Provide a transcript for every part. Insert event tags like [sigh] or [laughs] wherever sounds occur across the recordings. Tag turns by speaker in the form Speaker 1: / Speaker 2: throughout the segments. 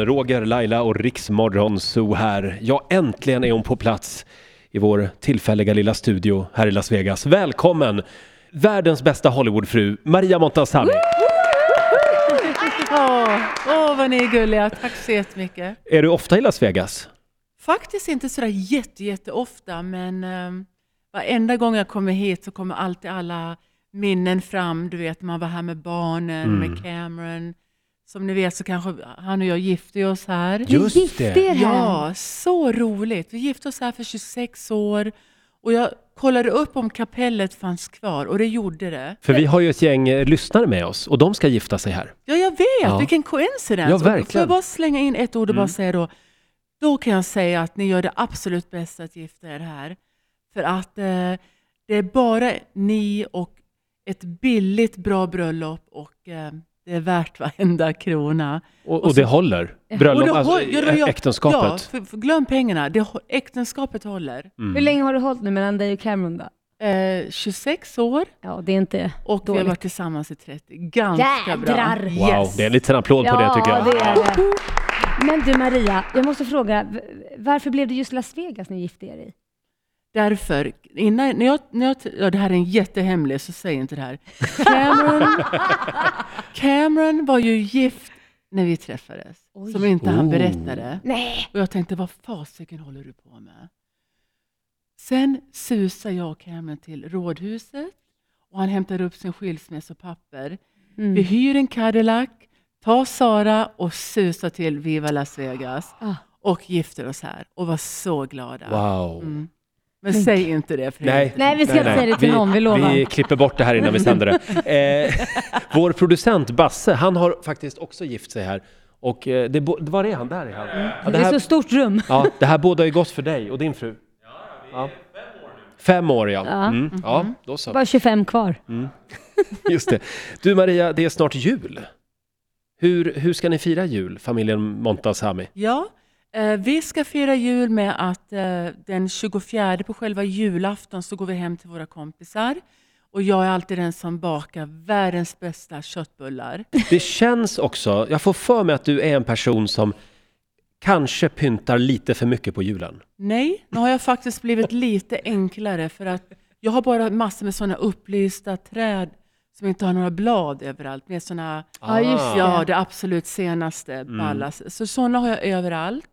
Speaker 1: Roger, Laila och Riksmorgon Zoo här. Ja, äntligen är hon på plats i vår tillfälliga lilla studio här i Las Vegas. Välkommen! Världens bästa Hollywoodfru, Maria Montazami.
Speaker 2: Åh, åh, vad ni är gulliga. Tack så jättemycket.
Speaker 1: Är du ofta i Las Vegas?
Speaker 2: Faktiskt inte sådär jätte, jätteofta, men um, varenda gång jag kommer hit så kommer alltid alla minnen fram. Du vet, man var här med barnen,
Speaker 1: Mm.
Speaker 2: med Cameron. Som ni vet så kanske han och jag gifte oss här.
Speaker 1: Just
Speaker 3: vi gifte
Speaker 1: det.
Speaker 3: er här.
Speaker 2: Ja, så roligt. Vi gifte oss här för 26 år och jag kollade upp om kapellet fanns kvar och det gjorde det.
Speaker 1: För vi har ju ett gäng eh, lyssnare med oss och de ska gifta sig här.
Speaker 2: Ja, jag vet.
Speaker 1: Ja.
Speaker 2: Vilken coincidence.
Speaker 1: Ja,
Speaker 2: Och då Får
Speaker 1: verkligen. Mm.
Speaker 2: jag bara slänga in ett ord och bara säga då. Då kan jag säga att ni gör det absolut bästa att gifta er här. För att eh, det är bara ni och ett billigt bra bröllop och eh, det är värt varenda krona.
Speaker 1: Och, och det håller. Bröllop,
Speaker 2: Och det
Speaker 1: alltså,
Speaker 2: håll- ja, ja, ja.
Speaker 1: äktenskapet. Mm.
Speaker 2: Ja, för, för glöm pengarna. Det, hå- äktenskapet håller.
Speaker 3: Hur länge har du hållit nu mellan dig och Cameron då?
Speaker 2: Eh, 26 år
Speaker 3: Ja, det är inte
Speaker 2: och vi har
Speaker 3: dåligt.
Speaker 2: varit tillsammans i 30. Ganska
Speaker 3: Jädrar!
Speaker 2: bra.
Speaker 1: Wow, det är en liten applåd på det tycker jag.
Speaker 3: Ja, det är det. Men du Maria, jag måste fråga, v- varför blev det just Las Vegas ni gifte er i?
Speaker 2: Därför, innan, när jag, när jag, ja, det här är en jättehemlig, så säg inte det här.
Speaker 3: [laughs]
Speaker 2: Cameron, Cameron var ju gift när vi träffades,
Speaker 3: Oj.
Speaker 2: som inte han
Speaker 1: Oh.
Speaker 2: berättade.
Speaker 3: Nej!
Speaker 2: Och jag tänkte, vad fasiken håller du på med? Sen susar jag och Cameron till rådhuset och han hämtar upp sin skilsmässopapper. Vi
Speaker 3: Mm.
Speaker 2: hyr en Cadillac, tar Sara och susar till Viva Las Vegas
Speaker 3: Ah.
Speaker 2: och gifter oss här och var så glada.
Speaker 1: Wow.
Speaker 2: Mm. Men säg inte det för
Speaker 1: Nej,
Speaker 3: Nej, vi ska inte säga det till någon, vi lovar.
Speaker 1: Vi klipper bort det här innan vi sänder det.
Speaker 3: [laughs]
Speaker 1: Eh, vår producent Basse, han har faktiskt också gift sig här. Och eh, det, bo- var är han? Där är han. Ja,
Speaker 3: Mm. Det
Speaker 1: det,
Speaker 3: är så
Speaker 1: här,
Speaker 3: stort rum.
Speaker 1: ja, det här båda är gott för dig och din fru. Ja, Fem år ja.
Speaker 3: Ja.
Speaker 1: Mm. ja då så.
Speaker 3: Bara 25 kvar.
Speaker 1: Just det. Du Maria, det är snart jul. Hur, hur ska ni fira jul, familjen Montazami?
Speaker 2: Ja, eh, vi ska fira jul med att eh, den 24 på själva julafton så går vi hem till våra kompisar. Och jag är alltid den som bakar världens bästa köttbullar.
Speaker 1: Det känns också, jag får för mig att du är en person som kanske pyntar lite för mycket på julen.
Speaker 2: Nej, nu har jag faktiskt blivit lite enklare för att jag har bara massor med sådana upplysta träd som inte har några blad överallt. Med sådana,
Speaker 3: Ja, just det.
Speaker 2: ja det absolut senaste, ballas. Så sådana har jag överallt.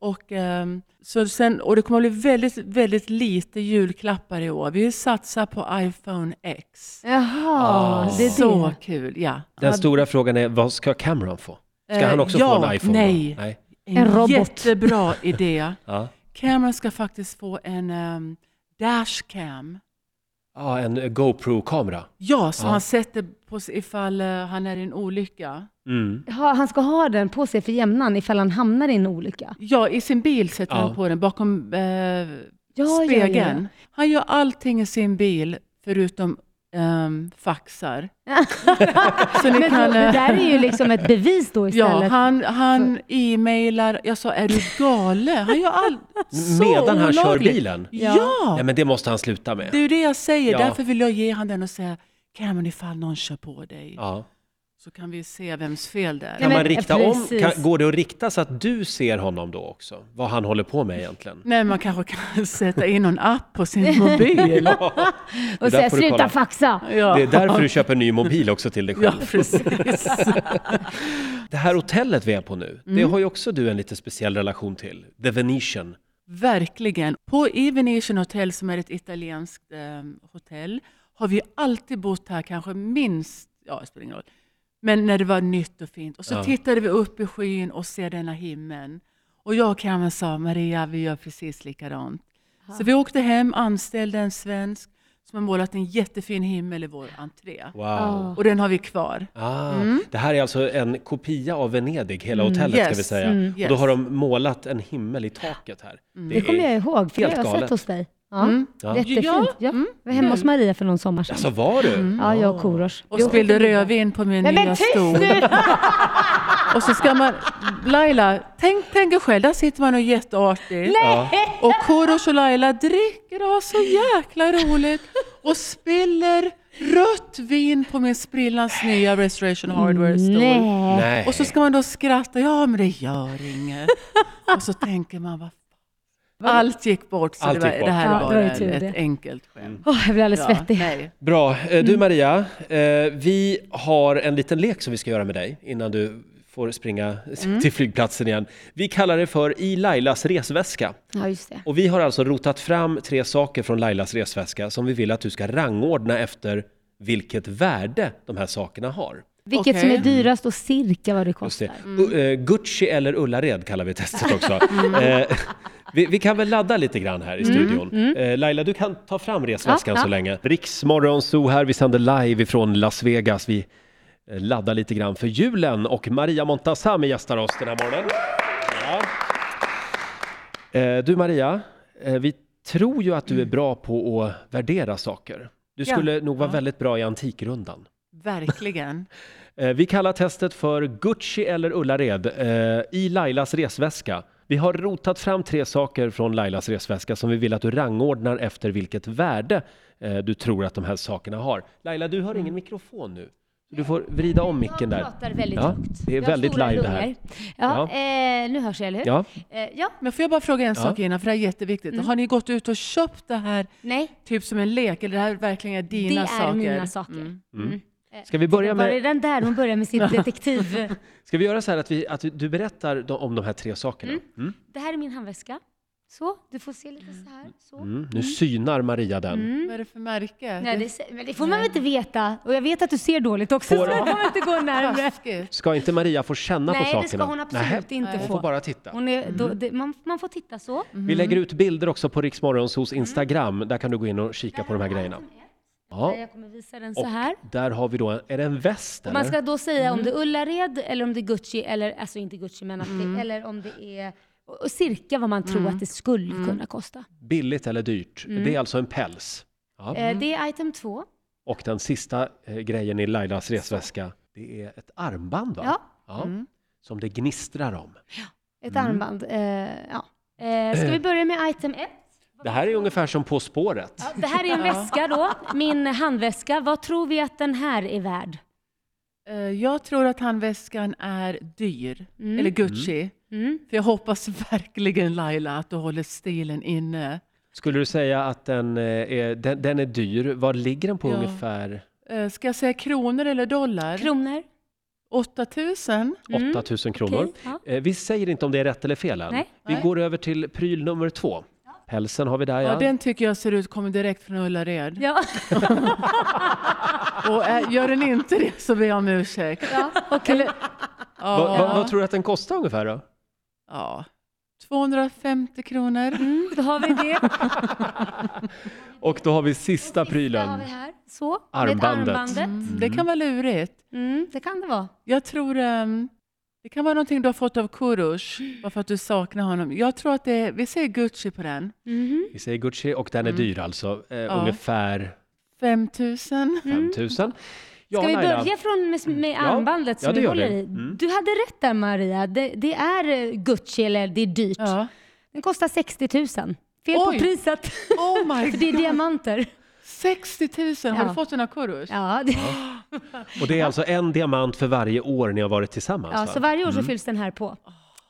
Speaker 2: Och, ehm, så sen, och det kommer att bli väldigt, väldigt lite julklappar i år. Vi satsar på iPhone X.
Speaker 3: Jaha,
Speaker 1: Ah.
Speaker 3: det är
Speaker 2: så
Speaker 3: det.
Speaker 2: kul, ja.
Speaker 1: Den stora frågan är, vad ska Cameron få? Ska
Speaker 2: Eh,
Speaker 1: han också
Speaker 2: ja,
Speaker 1: få en iPhone? då?
Speaker 2: nej.
Speaker 1: nej.
Speaker 2: En,
Speaker 3: En robot.
Speaker 2: jättebra idé.
Speaker 1: Ja.
Speaker 2: Cameron ska faktiskt få en ehm, dashcam.
Speaker 1: Ja, en eh, GoPro-kamera.
Speaker 2: Ja, så
Speaker 1: Ja.
Speaker 2: han sätter på sig ifall eh, han är i en olycka.
Speaker 1: Mm.
Speaker 3: Ha, han ska ha den på sig för jämnan ifall han hamnar i en olycka.
Speaker 2: Ja, i sin bil sätter
Speaker 1: Ja.
Speaker 2: han på den bakom eh,
Speaker 3: Ja, ja, ja.
Speaker 2: spegeln. Han gör allting i sin bil förutom ehm,
Speaker 3: [laughs]
Speaker 2: faxar. så ni
Speaker 3: Men då,
Speaker 2: kan...
Speaker 3: det
Speaker 2: eh,
Speaker 3: där är ju liksom ett bevis då
Speaker 2: ja,
Speaker 3: istället.
Speaker 2: han, han e-mailar. Jag sa, är du galen? Han gör allt så
Speaker 1: Medan han kör
Speaker 2: olagligt.
Speaker 1: bilen?
Speaker 2: Ja.
Speaker 1: Nej, men det måste han sluta med.
Speaker 2: det är ju det jag säger.
Speaker 1: Ja.
Speaker 2: Därför vill jag ge han den och säga, Cameron ifall någon kör på dig
Speaker 1: Ja.
Speaker 2: så kan vi se vems fel det är.
Speaker 3: Nej,
Speaker 1: Kan
Speaker 3: men-
Speaker 1: man rikta
Speaker 3: eh,
Speaker 1: om?
Speaker 3: precis.
Speaker 1: Kan, går det att rikta så att du ser honom då också? Vad han håller på med
Speaker 2: [laughs]
Speaker 1: egentligen?
Speaker 2: Nej, man kanske kan [laughs] sätta in någon app på sin mobil.
Speaker 1: där
Speaker 3: och säger
Speaker 1: får du kolla."
Speaker 3: sluta faxa.
Speaker 2: Ja,
Speaker 1: Det är därför du köper en ny mobil också till dig
Speaker 2: [laughs] ja
Speaker 1: själv.
Speaker 2: precis. [laughs]
Speaker 1: Det här hotellet vi är på nu, det har ju också du en lite speciell relation till. The Venetian.
Speaker 2: Verkligen. På i Venetian Hotel, som är ett italienskt eh, hotell, har vi alltid bott här kanske minst, ja det spelar ingen roll, men när det var nytt och fint. Och så
Speaker 1: Ja.
Speaker 2: tittade vi upp i skyn och ser denna himlen. Och jag och Cameron sa, Maria, vi gör precis likadant. Så vi åkte hem, anställde en svensk som har målat en jättefin himmel i vår entré.
Speaker 1: Wow.
Speaker 3: Ja.
Speaker 2: Och den har vi kvar.
Speaker 1: Ah,
Speaker 3: Mm.
Speaker 1: Det här är alltså en kopia av Venedig, hela hotellet ska
Speaker 2: Yes.
Speaker 1: vi säga.
Speaker 2: Mm.
Speaker 1: Och då har de målat en himmel i taket här.
Speaker 3: Mm. Det kommer jag
Speaker 1: är...
Speaker 3: ihåg, för det
Speaker 1: helt
Speaker 3: har jag sett
Speaker 1: galet.
Speaker 3: hos dig. Ja.
Speaker 1: Ja.
Speaker 3: Jättefint.
Speaker 2: Ja,
Speaker 3: Ja. Jag var hemma hos Maria för någon sommar sedan.
Speaker 1: Alltså var du?
Speaker 3: Ja, jag och Korosh.
Speaker 2: Och spillde rödvin på min
Speaker 3: Nej
Speaker 2: nya
Speaker 3: men tyst
Speaker 2: stol.
Speaker 3: nu!
Speaker 2: Och så ska man... Laila, tänk, tänk er själv, där sitter man och är jätteartig. Och Korosh och Laila dricker och har så jäkla roligt. Och spiller rött vin på min sprillans nya Restoration Hardware Store.
Speaker 3: Nej.
Speaker 1: Nej.
Speaker 2: Och så ska man då skratta, ja men det gör inget. Och så tänker man, vad fan. Allt gick bort, så
Speaker 1: Allt
Speaker 2: det, var,
Speaker 1: gick bort.
Speaker 2: det här
Speaker 3: Ja,
Speaker 2: var
Speaker 3: det var ju
Speaker 2: bara
Speaker 3: tur
Speaker 2: ett
Speaker 3: det.
Speaker 2: enkelt skämt.
Speaker 3: Åh, jag blir alldeles
Speaker 2: Ja,
Speaker 3: svettig.
Speaker 2: nej.
Speaker 1: Bra. Eh,
Speaker 3: Mm.
Speaker 1: Du Maria, eh, vi har en liten lek som vi ska göra med dig innan du får springa
Speaker 3: Mm.
Speaker 1: till flygplatsen igen. Vi kallar det för I Lailas resväska.
Speaker 3: Ja, just det.
Speaker 1: Och vi har alltså rotat fram tre saker från Lailas resväska som vi vill att du ska rangordna efter vilket värde de här sakerna har.
Speaker 3: Vilket
Speaker 2: Okej.
Speaker 3: som är dyrast och cirka vad det
Speaker 1: Just det.
Speaker 3: kostar. Mm.
Speaker 1: U- eh, Gucci eller Ullared kallar vi
Speaker 3: [laughs]
Speaker 1: testet också.
Speaker 3: Mm.
Speaker 1: Eh, vi, vi kan väl ladda lite grann här i studion. Eh, Laila, du kan ta fram resväskan
Speaker 3: Ja, ja.
Speaker 1: så länge. Riksmorgon Zoo här, vi sänder live ifrån Las Vegas. Vi eh, laddar lite grann för julen och Maria Montazami gästar oss den här morgonen. Ja. Eh, du Maria, eh, vi tror ju att du är
Speaker 3: Mm.
Speaker 1: bra på att värdera saker. Du
Speaker 2: Ja.
Speaker 1: skulle nog vara
Speaker 2: Ja.
Speaker 1: väldigt bra i Antikrundan.
Speaker 2: Verkligen.
Speaker 1: Eh, Vi kallar testet för Gucci eller Ullared eh, i Lailas resväska. Vi har rotat fram tre saker från Lailas resväska som vi vill att du rangordnar efter vilket värde eh, du tror att de här sakerna har. Laila, du har ingen mikrofon nu. Du får vrida om micken där.
Speaker 3: Jag pratar väldigt
Speaker 1: Ja,
Speaker 3: högt.
Speaker 1: det är
Speaker 3: Jag har
Speaker 1: väldigt
Speaker 3: stora
Speaker 1: live det här.
Speaker 3: lungor. Ja, Eh, nu hörs jag, eller hur?
Speaker 1: Ja,
Speaker 3: Eh, ja.
Speaker 2: Men får jag bara fråga en sak innan, för det här är jätteviktigt.
Speaker 3: Mm.
Speaker 2: Har ni gått ut och köpt det här
Speaker 3: Nej,
Speaker 2: typ som en lek, eller det här verkligen är dina
Speaker 3: det är
Speaker 2: saker?
Speaker 3: mina saker.
Speaker 1: Mm.
Speaker 3: Mm.
Speaker 1: ska vi börja
Speaker 3: Var är
Speaker 1: med...
Speaker 3: den där? Hon börjar
Speaker 1: [laughs]
Speaker 3: med sitt detektiv.
Speaker 1: Ska vi göra så här att, vi, att du berättar de- om de här tre sakerna? Mm.
Speaker 3: Det här är min handväska. Så, du får se lite så här. Så.
Speaker 1: Mm. Nu synar Maria den.
Speaker 3: Mm.
Speaker 2: Vad är det för märke?
Speaker 3: Nej, det, ser- men det får man väl inte veta. Och jag vet att du ser dåligt också,
Speaker 1: Får
Speaker 3: så jag kommer inte gå närmare.
Speaker 2: Taskigt.
Speaker 1: Ska inte Maria få känna på
Speaker 3: Nej,
Speaker 1: sakerna?
Speaker 3: det ska hon absolut
Speaker 1: Nähä.
Speaker 3: inte
Speaker 1: Hon får
Speaker 3: få. Mm.
Speaker 1: bara Mm. titta.
Speaker 3: Hon är, då, det, man, man får titta så.
Speaker 1: Vi lägger ut bilder också på Riksmorgonsos Instagram. Där kan du gå in och kika på de här grejerna. Ja.
Speaker 3: Jag kommer visa den så
Speaker 1: Och
Speaker 3: här.
Speaker 1: där har vi då, en- är det en väst
Speaker 3: Och man
Speaker 1: eller?
Speaker 3: ska då säga om det är Ullared eller om det är Gucci, eller alltså inte Gucci, men att det, eller om det är och och cirka vad man tror att det skulle kunna kosta.
Speaker 1: Billigt eller dyrt? Det är alltså en päls. Ja.
Speaker 3: Mm. Eh, Det är item två.
Speaker 1: Och den sista eh, grejen i Lailas resväska, det är ett armband va?
Speaker 3: Ja. Mm.
Speaker 2: Mm.
Speaker 1: Som det gnistrar om.
Speaker 3: Ett
Speaker 1: Mm.
Speaker 3: armband. Eh, ja. eh, ska vi börja med item ett?
Speaker 1: Det här är ungefär som På spåret.
Speaker 3: Det här [laughs] är en väska då, min handväska. Vad tror vi att den här är värd?
Speaker 2: Eh, Jag tror att handväskan är dyr,
Speaker 3: Mm.
Speaker 2: eller Gucci.
Speaker 3: Mm.
Speaker 2: För jag hoppas [laughs] verkligen Laila att du håller stilen inne.
Speaker 1: Skulle du säga att den, eh, är, den, den är dyr? Vad ligger den på
Speaker 2: Ja.
Speaker 1: ungefär?
Speaker 2: Eh, Ska jag säga kronor eller dollar?
Speaker 3: Kronor?
Speaker 2: 8000?
Speaker 1: 8000 kronor.
Speaker 3: Mm. Okej, ja.
Speaker 1: Eh, Vi säger inte om det är rätt eller fel än.
Speaker 3: Nej.
Speaker 1: Vi
Speaker 2: Nej.
Speaker 1: går över till pryl nummer två. Pälsen har vi där
Speaker 2: Ja,
Speaker 1: ja.
Speaker 2: den tycker jag ser ut, kommer direkt från Ullared.
Speaker 3: Ja,
Speaker 2: Och eh, gör den inte det så ber jag om ursäkt.
Speaker 3: ja okej.
Speaker 2: Ja.
Speaker 1: Va, va, vad tror du att den kostar ungefär då?
Speaker 2: ja. 250 kronor.
Speaker 3: Mm, då har vi det.
Speaker 1: Och då har vi sista
Speaker 3: Då har
Speaker 1: prylen.
Speaker 3: vi här. Så, det är ett
Speaker 1: Armbandet.
Speaker 3: armbandet.
Speaker 2: Det kan vara lurigt.
Speaker 3: Mm, det kan det vara.
Speaker 2: Jag tror ehm, det kan vara någonting du har fått av Kurush, bara för att du saknar honom. Jag tror att det är, vi säger Gucci på den.
Speaker 3: Mm-hmm.
Speaker 1: Vi säger Gucci och den är
Speaker 3: Mm.
Speaker 1: dyr alltså. Eh,
Speaker 2: Ja.
Speaker 1: Ungefär
Speaker 2: 5000.
Speaker 1: 5000. Ja,
Speaker 3: Ska vi
Speaker 1: Laila. Mm.
Speaker 3: börja från med, med armbandet
Speaker 1: ja,
Speaker 3: som
Speaker 1: det
Speaker 3: vi
Speaker 1: gör vi. Mm.
Speaker 3: håller i? Du hade rätt där Maria. Det, det är eh, Gucci, eller det är dyrt.
Speaker 2: Ja.
Speaker 3: Den kostar 60 000. Fel på
Speaker 2: Oj.
Speaker 3: priset. [laughs]
Speaker 2: Oh my
Speaker 3: För det är diamanter.
Speaker 2: 60 000, har du
Speaker 3: Ja.
Speaker 2: fått den av Kurush?
Speaker 3: Ja, det,
Speaker 1: Och det är alltså en diamant för varje år ni har varit tillsammans
Speaker 3: ja,
Speaker 1: va?
Speaker 3: så varje år så fylls den här på.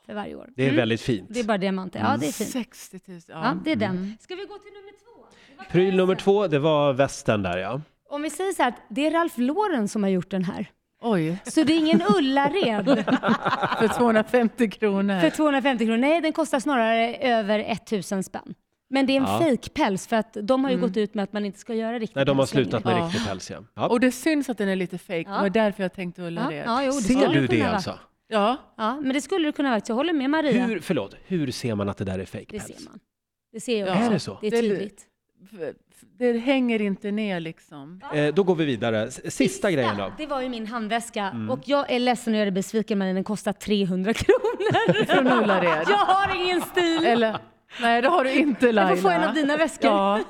Speaker 3: För varje år.
Speaker 1: alltså. Mm. Ah. Det Mm. är väldigt fint.
Speaker 3: Det är bara diamanter. Ja, det är fint.
Speaker 2: 60 000, ja.
Speaker 3: Ja, det är den. Ska vi gå till nummer två? Det var-
Speaker 1: Pryl nummer två, det var västen där ja.
Speaker 3: Om vi säger så här, att det är Ralph Lauren som har gjort den här.
Speaker 2: Oj,
Speaker 3: Så det är ingen
Speaker 1: [laughs]
Speaker 3: Ullared
Speaker 2: för 250 kronor.
Speaker 3: för 250 kronor. Nej, den kostar snarare över 1000 spänn. Men det är en
Speaker 1: Ja. Mm.
Speaker 3: fejkpäls för att de har ju gått ut med att man inte ska göra riktigt
Speaker 1: Nej, de har
Speaker 3: päls längre.
Speaker 1: slutat med
Speaker 2: Ja.
Speaker 1: riktig päls ja. ja.
Speaker 2: Och det syns att den är lite fake. Det var därför jag tänkte
Speaker 3: Ja,
Speaker 2: Ullared.
Speaker 3: ja, jo, det
Speaker 1: Ser
Speaker 3: skulle
Speaker 1: du det
Speaker 3: kunna vara.
Speaker 1: alltså?
Speaker 2: Ja.
Speaker 3: Ja, men det skulle det kunna vara. Så jag håller med Maria.
Speaker 1: Hur, förlåt, hur ser man att det där är
Speaker 3: Det
Speaker 1: fejkpäls?
Speaker 3: ser man. Det ser jag
Speaker 2: Ja.
Speaker 3: också.
Speaker 1: Är det så?
Speaker 3: Det är
Speaker 2: Det är-
Speaker 3: tydligt.
Speaker 2: F- f- Det hänger inte ner liksom.
Speaker 1: Eh, då går vi vidare. S- Sista, grejen då. Mm.
Speaker 3: Det var ju min handväska och jag är ledsen att göra dig besviken men den kostar
Speaker 1: [laughs]
Speaker 3: 300 kronor.
Speaker 2: Från Ullared.
Speaker 3: Jag har ingen stil.
Speaker 2: Eller, nej det har du inte Laila.
Speaker 3: jag får få en av dina väskor. Ja.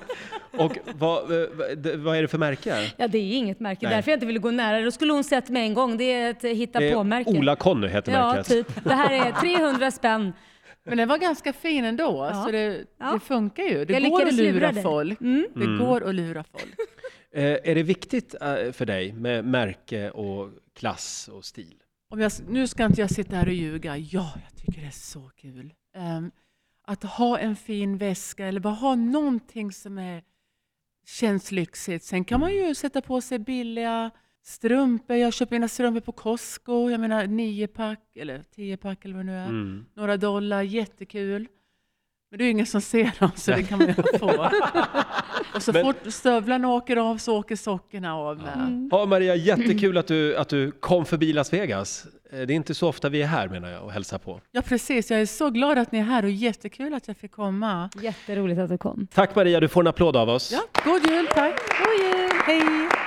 Speaker 2: Ja,
Speaker 1: Och vad, eh, vad- det- vad är det för märke?
Speaker 3: det är inget märke.
Speaker 1: Nej.
Speaker 3: Därför jag inte ville gå nära. Då skulle hon sett mig en gång. Det är ett hitta
Speaker 1: Det är
Speaker 3: på-märke.
Speaker 1: Ola-Conny Eh, heter
Speaker 3: Ja,
Speaker 1: märket.
Speaker 3: typ. Det här är [laughs] 300 spänn.
Speaker 2: men den var ganska fin ändå. Så det,
Speaker 3: Ja.
Speaker 2: det funkar ju. Det
Speaker 3: Jag
Speaker 2: går att
Speaker 3: lyckades lura
Speaker 2: lura
Speaker 3: dig. Mm.
Speaker 2: folk. Det går att lura folk.
Speaker 1: Eh, är det viktigt eh, för dig med märke och klass och stil?
Speaker 2: Om jag, nu ska inte jag sitta här och ljuga. Ja, jag tycker det är så kul. Ehm, att ha en fin väska eller bara ha någonting som är, känns lyxigt. Sen kan man ju sätta på sig billiga strumpor. Jag köper mina strumpor på Costco. Jag menar niopack eller tiopack eller vad det nu är.
Speaker 1: Mm.
Speaker 2: Några dollar, jättekul. Men det är ju ingen som ser dem så det kan man ju
Speaker 1: [laughs]
Speaker 2: få. Och så
Speaker 1: Men-
Speaker 2: fort stövlarna åker av så åker sockorna av med.
Speaker 1: Ja, Maria, jättekul att du, att du kom förbi Las Vegas. Eh, Det är inte så ofta vi är här menar jag och hälsar på.
Speaker 2: Ja precis, jag är så glad att ni är här och jättekul att jag fick komma.
Speaker 3: Jätteroligt att du kom.
Speaker 1: Tack Maria, du får en applåd av oss.
Speaker 2: Ja, god jul, tack! God jul! Hej!